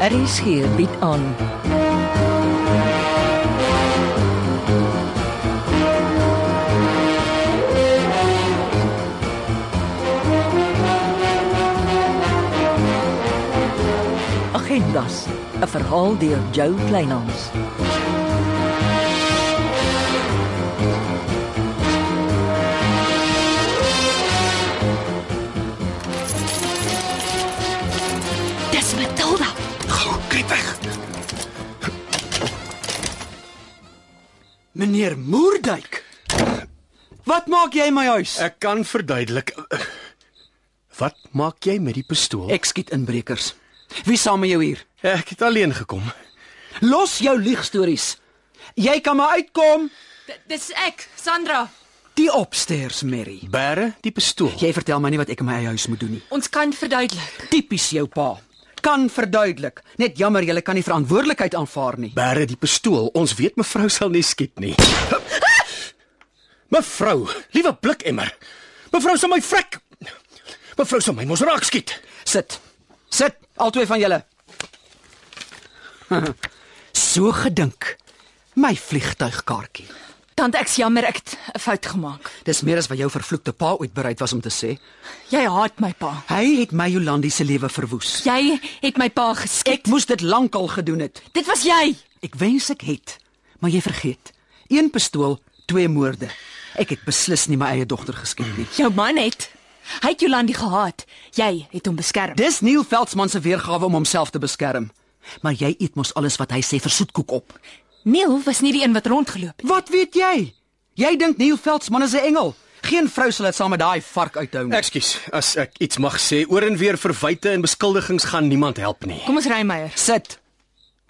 RSG Er bied aan. Agendas, 'n verhaal deur Jo Kleinhans. Dis Matilda. Gou, kry weg. Meneer Moerdijk. Wat maak jy in my huis? Ek kan verduidelik. Wat maak jy met die pistool? Ek skiet inbrekers. Wie saam met jou hier? ek het alleen gekom. Los jou leugstories. Jy kan maar uitkom. Dis ek, Sandra. Die opstairs, Mary. Bære die pistool. Jy vertel my nie wat ek in my eie huis moet doen nie. Ons kan verduidelik. Tipies jou pa. Kan verduidelik. Net jammer jy kan nie verantwoordelikheid aanvaar nie. Bære die pistool. Ons weet mevrou sal nie skiet nie. mevrou, liewe blikemmer. Mevrou sal my vrek. Mevrou sal my mos raak skiet. Sit. Sit, albei van julle. so gedink. My vliegtuigkaartjie. Tant ek's jammer ek het 'n fout gemaak. Dis meer as wat jou vervloekte pa ooit bereid was om te sê. Jy haat my pa. Hy het my Jolandi se lewe verwoes. Jy het my pa geskiet. Ek moes dit lankal gedoen het. Dit was jy. Ek wens ek het, maar jy vergeet. Een pistool, twee moorde. Ek het beslis nie my eie dogter geskiet nie. Jou man het. Hy het Jolandi gehaat. Jy het hom beskerm. Dis Neil Veldsmann se weergawe om homself te beskerm. Maar jy eet mos alles wat hy sê vir soetkoek op. Neil was nie die een wat rondgeloop het. Wat weet jy? Jy dink Neil Veldsmann is 'n engel. Geen vrou sal dit saam met daai vark uithou nie. Ekskuus, as ek iets mag sê, oor en weer verwyte en beskuldigings gaan niemand help nie. Kom ons ry Meyer. Sit.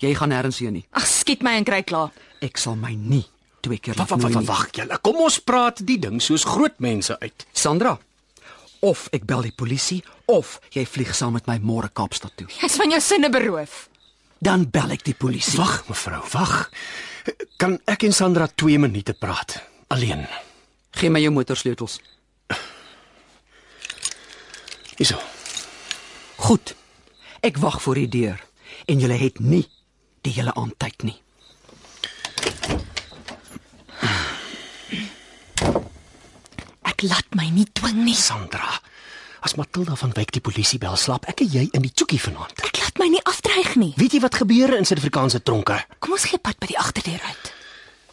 Jy gaan nêrens heen nie. Ag, skiet my en kry klaar. Ek sal my nie twee keer laat Wag, wag, nooi wag, nie. wag, julle. Kom ons praat die ding soos groot mense uit. Sandra. Of ek bel die polisie of jy vlieg saam met my môre Kaapstad toe. Jy's van jou sinne beroof. Dan bel ek die polisie. Wag, mevrou, wag. Kan ek en Sandra 2 minute praat? Alleen. Gee my jou motorsleutels. Hyso. Goed. Ek wag voor die deur en julle het nie die hele aand tyd nie. Ek laat my nie dwing nie. Sandra. As Matilda van Wyk die polisie bel, slaap ek en jy in die tjoekie vanaand. Ek laat my nie afdreig nie. Weet jy wat gebeur in Suid-Afrikaanse tronke? Kom ons gee pad by die agterdeur uit.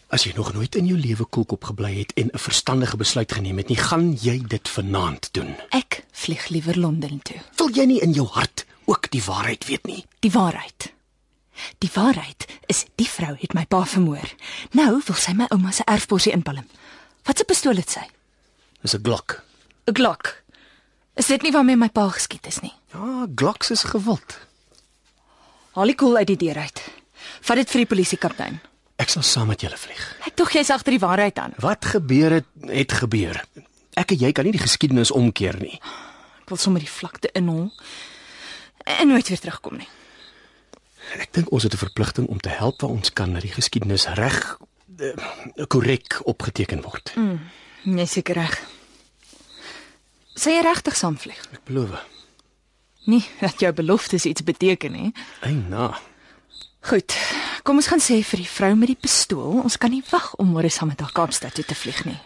As jy nog nooit in jou lewe koelkop gebly het en 'n verstandige besluit geneem het nie, gaan jy dit vanaand doen. Ek vlieg liewer Londen toe. Wil jy nie in jou hart ook die waarheid weet nie? Die waarheid. Die waarheid is die vrou het my pa vermoor. Nou wil sy my ouma se erfposie inpalm. Wat 'n pistool het sy? Dis 'n Glock. 'n Glock. Is dit nie waarmee my pa geskiet is nie? Ja, Glocks is gewild. Haal die koel uit die deur uit. Vat dit vir die polisie kaptein. Ek sal saam met julle vlieg. Ek tog jy's agter die waarheid aan. Wat gebeur het, het gebeur. Ek en jy kan nie die geskiedenis omkeer nie. Ek wil sommer die vlakte inhol en nooit weer terugkom nie. Ek dink ons het 'n verpligting om te help waar ons kan dat die geskiedenis reg eh, korrek opgeteken word. Jy seker reg. Sy jy regtig saamvlieg? Ek beloof. Nie dat jou beloftes iets beteken nie. Eina. Goed. Kom ons gaan sê vir die vrou met die pistool, ons kan nie wag om môre saam met haar Kaapstad toe te vlieg nie.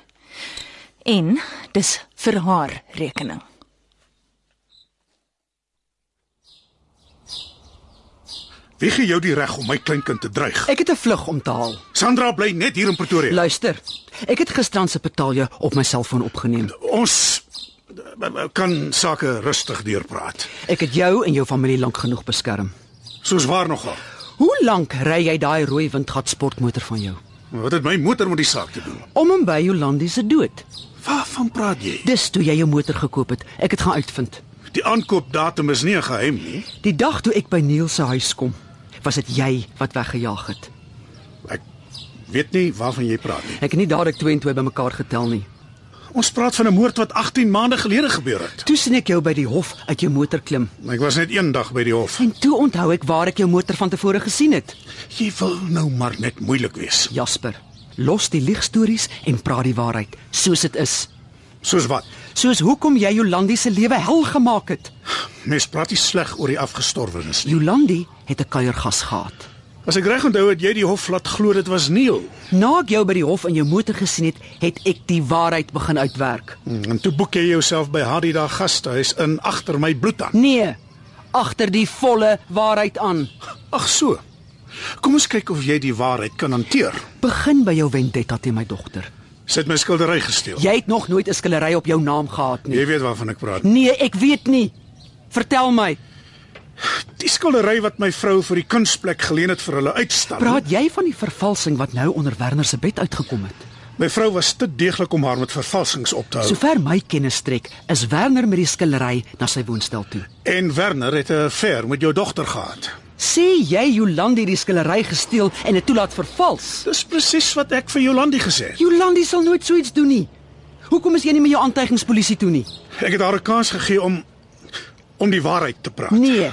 En dis vir haar rekening. Wie gee jou die reg om my kleinkind te dreig? Ek het 'n vlug om te haal. Sandra bly net hier in Pretoria. Luister. Ek het gisterand se betalje op my selfoon opgeneem. Ons eh, kan sake rustig deurpraat. Ek het jou en jou familie lank genoeg beskerm. Soos waar nogal. Hoe lank ry jy daai rooi windgat sportmotor van jou? Wat het my motor met die saak te doen? Om en by Jolandi se dood. Waarvan praat jy? Dis toe jy jou motor gekoop het. Ek het gaan uitvind. Die aankoopdatum is nie 'n geheim nie. Die dag toe ek by Neil se huis kom, was dit jy wat weggejaag het. Ek weet nie waarvan jy praat nie. Ek het nie dadelik 2 en 2 bymekaar getel nie. Ons praat van 'n moord wat 18 maande gelede gebeur het. Toe sien ek jou by die hof uit jou motor klim. Ek was net eendag by die hof. En toe onthou ek waar ek jou motor van tevore gesien het. Jy wil nou maar net moeilik wees. Jasper, los die leugstories en praat die waarheid soos dit is. Soos wat? Soos hoekom jy Jolandi se lewe hel gemaak het. Mens praat nie sleg oor die afgestorwenes nie. Jolandi het 'n kuiergas gehad. As ek reg onthou het jy die hof laat glo dit was Neil. Na ek jou by die hof in jou motor gesien het, het ek die waarheid begin uitwerk. Mm, En toe boek jy jouself by Hadida gastehuis in agter my bloed aan. Nee, agter die volle waarheid aan. Ag so. Kom ons kyk of jy die waarheid kan hanteer. Begin by jou vendetta teen my dogter. Sit my skildery gesteel. Jy het nog nooit 'n skillery op jou naam gehad nie. Jy weet waarvan ek praat. Nee, ek weet nie. Vertel my, Die skildery wat my vrou vir die kunsplek geleen het vir hulle uitstal. praat jy van die vervalsing wat nou onder Werner se bed uitgekom het? My vrou was te deeglik om haar met vervalsings op te hou. Sover my kennis strek, is Werner met die skillery na sy woonstel toe. En Werner het 'n affair met jou dogter gehad. Sê jy Jolandi het die skillery gesteel en dit toelaat vervals? Dis presies wat ek vir Jolandi gesê het. Jolandi sal nooit so iets doen nie. Hoekom is jy nie met jou aantuigingspolisie toe nie? Ek het haar 'n kans gegee om om die waarheid te praat. Nee.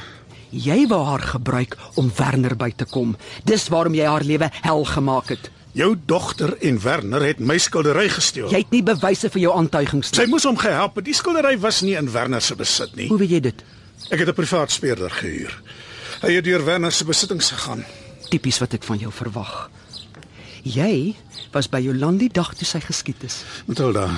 Jy wou haar gebruik om Werner by te kom. Dis waarom jy haar lewe hel gemaak het. Jou dogter en Werner het my skildery gesteel. Jy het nie bewyse vir jou aantuigings Sy nie. moes hom gehelp het. Die skildery was nie in Werner se besit nie. Hoe weet jy dit? Ek het 'n privaat speurder gehuur. Hy het deur Werner se besittings gegaan. Tipies wat ek van jou verwag. Jy was by Jolandi dag toe sy geskiet is. Matilda,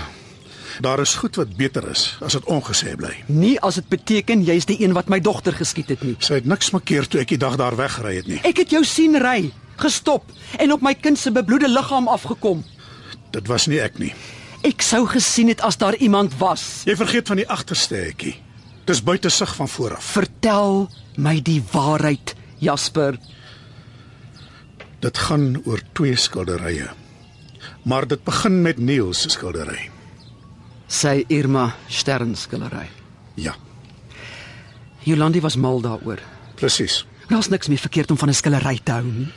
daar is goed wat beter is as dit ongesê bly. Nie as dit beteken jy's die een wat my dogter geskiet het nie. Sy het niks makkeer toe ek die dag daar weggery het nie. Ek het jou sien ry, gestop en op my kind se bebloede liggaam afgekom. Dit was nie ek nie. Ek sou gesien het as daar iemand was. Jy vergeet van die agterste hekkie. Dis buite sig van vooraf. Vertel my die waarheid, Jasper. Dit gaan oor twee skilderye. Maar dit begin met Neil se skildery. Sy Irma Sternskillery. Ja, Jolandi was mal daaroor. presies. Daar's niks meer verkeerd om van 'n skillery te hou nie.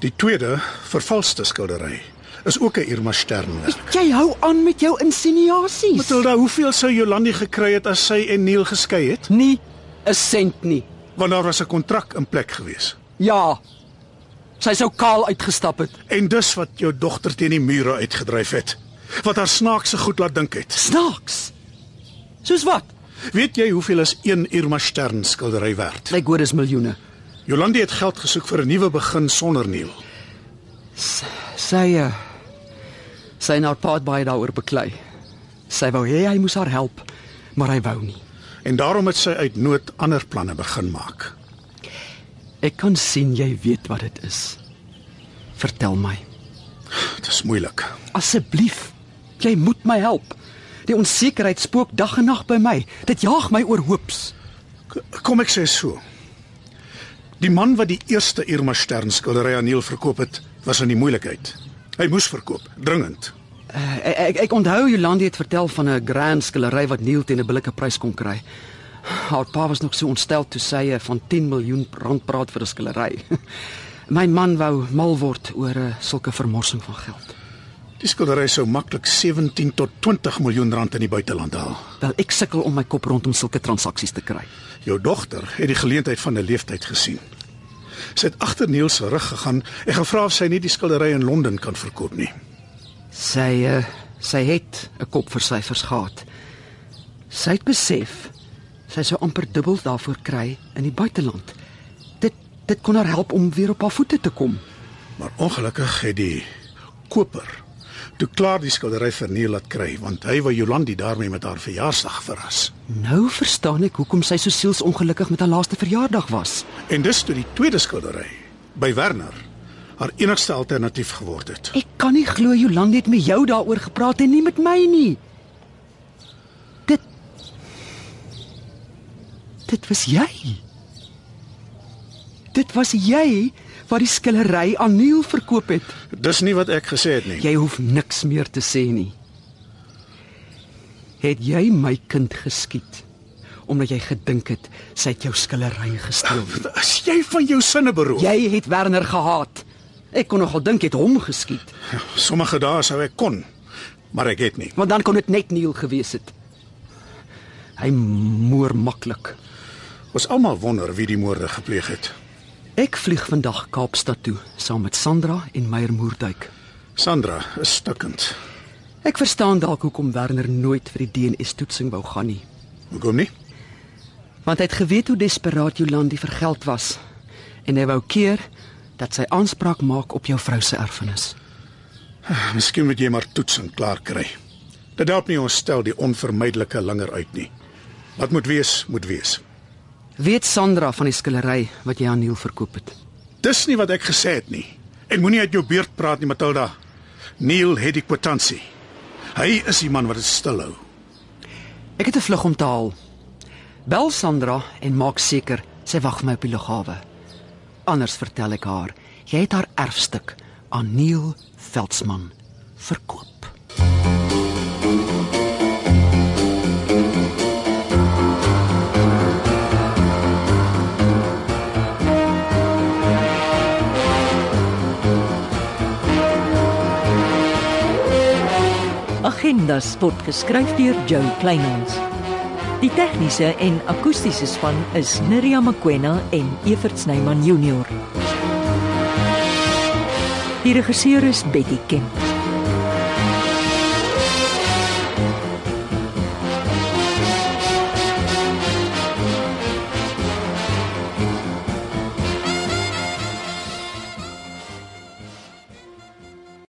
Die tweede, vervalste skildery, is ook 'n Irma Sternwerk. Jy hou aan met jou insinuasies. Matilda, hoeveel sou Jolandi gekry het as sy en Neil geskei het? nie 'n sent nie. Want daar was 'n kontrak in plek gewees. Ja. Sy sou kaal uitgestap het. En dis wat jou dogter teen die mure uitgedryf het, wat haar snaakse goed laat dink het. Snaaks. Soos wat? Weet jy hoeveel is een Irma Stern skildery werd? Lyk hoor is miljoene. Jolandi het geld gesoek vir 'n nuwe begin sonder Neil. Sy eh, sy en haar pa het baie daaroor beklei. Sy wou hê hy moes haar help, maar hy wou nie. En daarom het sy uit nood ander planne begin maak. Ek kan sien jy weet wat dit is. Vertel my Dit is moeilik. asseblief. Jy moet my help. Die onsekerheid spook dag en nag by my. Dit jaag my oor hoops. K- Kom ek sê so. Die man wat die eerste Irma Stern skildery aan Neil verkoop het, was in die moeilikheid. Hy moes verkoop, dringend. Ek Eh, ek, ek onthou Jolandi het vertel van 'n grand skillery wat Neil teen 'n billike prys kon kry. Haar pa was nog so ontstel toe sy eh, van 10 miljoen rand praat vir 'n skillery. My man wou mal word oor 'n sulke vermorsing van geld. Die skildery sou maklik 17 tot 20 miljoen rand in die buiteland haal. Wel, ek sukkel om my kop rondom sulke transaksies te kry. Jou dogter het die geleentheid van 'n leeftyd gesien. Sy het agter Neil se rug gegaan en gevra of sy nie die skildery in Londen kan verkoop nie. Sy eh, sy het 'n kop vir syfers gehad. Sy het besef sy sou amper dubbel daarvoor kry in die buiteland. Dit dit kon haar help om weer op haar voete te kom. Maar ongelukkig het die koper toe klaar die skildery vir Neil laat kry, want hy wou Jolandi daarmee met haar verjaarsdag verras. Nou verstaan ek hoekom sy so sielsongelukkig met haar laaste verjaardag was. En dis toe die tweede skildery by Werner haar enigste alternatief geword het. Ek kan nie glo Jolande het met jou daaroor gepraat en nie met my nie. Dit Dit was jy. Dit was jy wat die skillery aan Neil verkoop het. Dis nie wat ek gesê het nie. Jy hoef niks meer te sê nie. Het jy my kind geskiet omdat jy gedink het sy het jou skillery gesteel? As jy van jou sinne beroof. Jy het Werner gehaat. Ek kon nogal dink jy het hom geskiet, Sommige dae sou ek kon, maar ek het nie. want dan kon dit net Neil gewees het. Hy moer maklik. Ons almal wonder wie die moorde gepleeg het. Ek vlieg vandag Kaapstad toe saam met Sandra en Meyer Moerdijk. Sandra is stikkend. Ek verstaan dalk hoekom Werner nooit vir die DNA-toetsing wou gaan nie. Hoekom nie? want hy het geweet hoe desperaat Jolandi vir geld was en hy wou keer dat sy aanspraak maak op jou vrou se erfenis. Miskien moet jy maar toets en klaar kry. Dit help nie ons stel die onvermydelike langer uit nie. Wat moet wees, moet wees. Weet Sandra van die skillery wat jy aan Neil verkoop het. Dis nie wat ek gesê het nie. En moenie uit jou beurt praat nie, Matilda. Neil het die kwitansie. Hy is die man wat dit stilhou. Ek het 'n vlug om te haal. Bel Sandra en maak seker sy wag vir my op die lughawe. Anders vertel ek haar jy het haar erfstuk aan Neil Veldsmann verkoop. Agendas word geskryf deur Jo Kleinhans. Die tegniese en akoestiese span is Neriya Mkwena en Evert Snyman Junior. Die regisseur is Betty Kemp.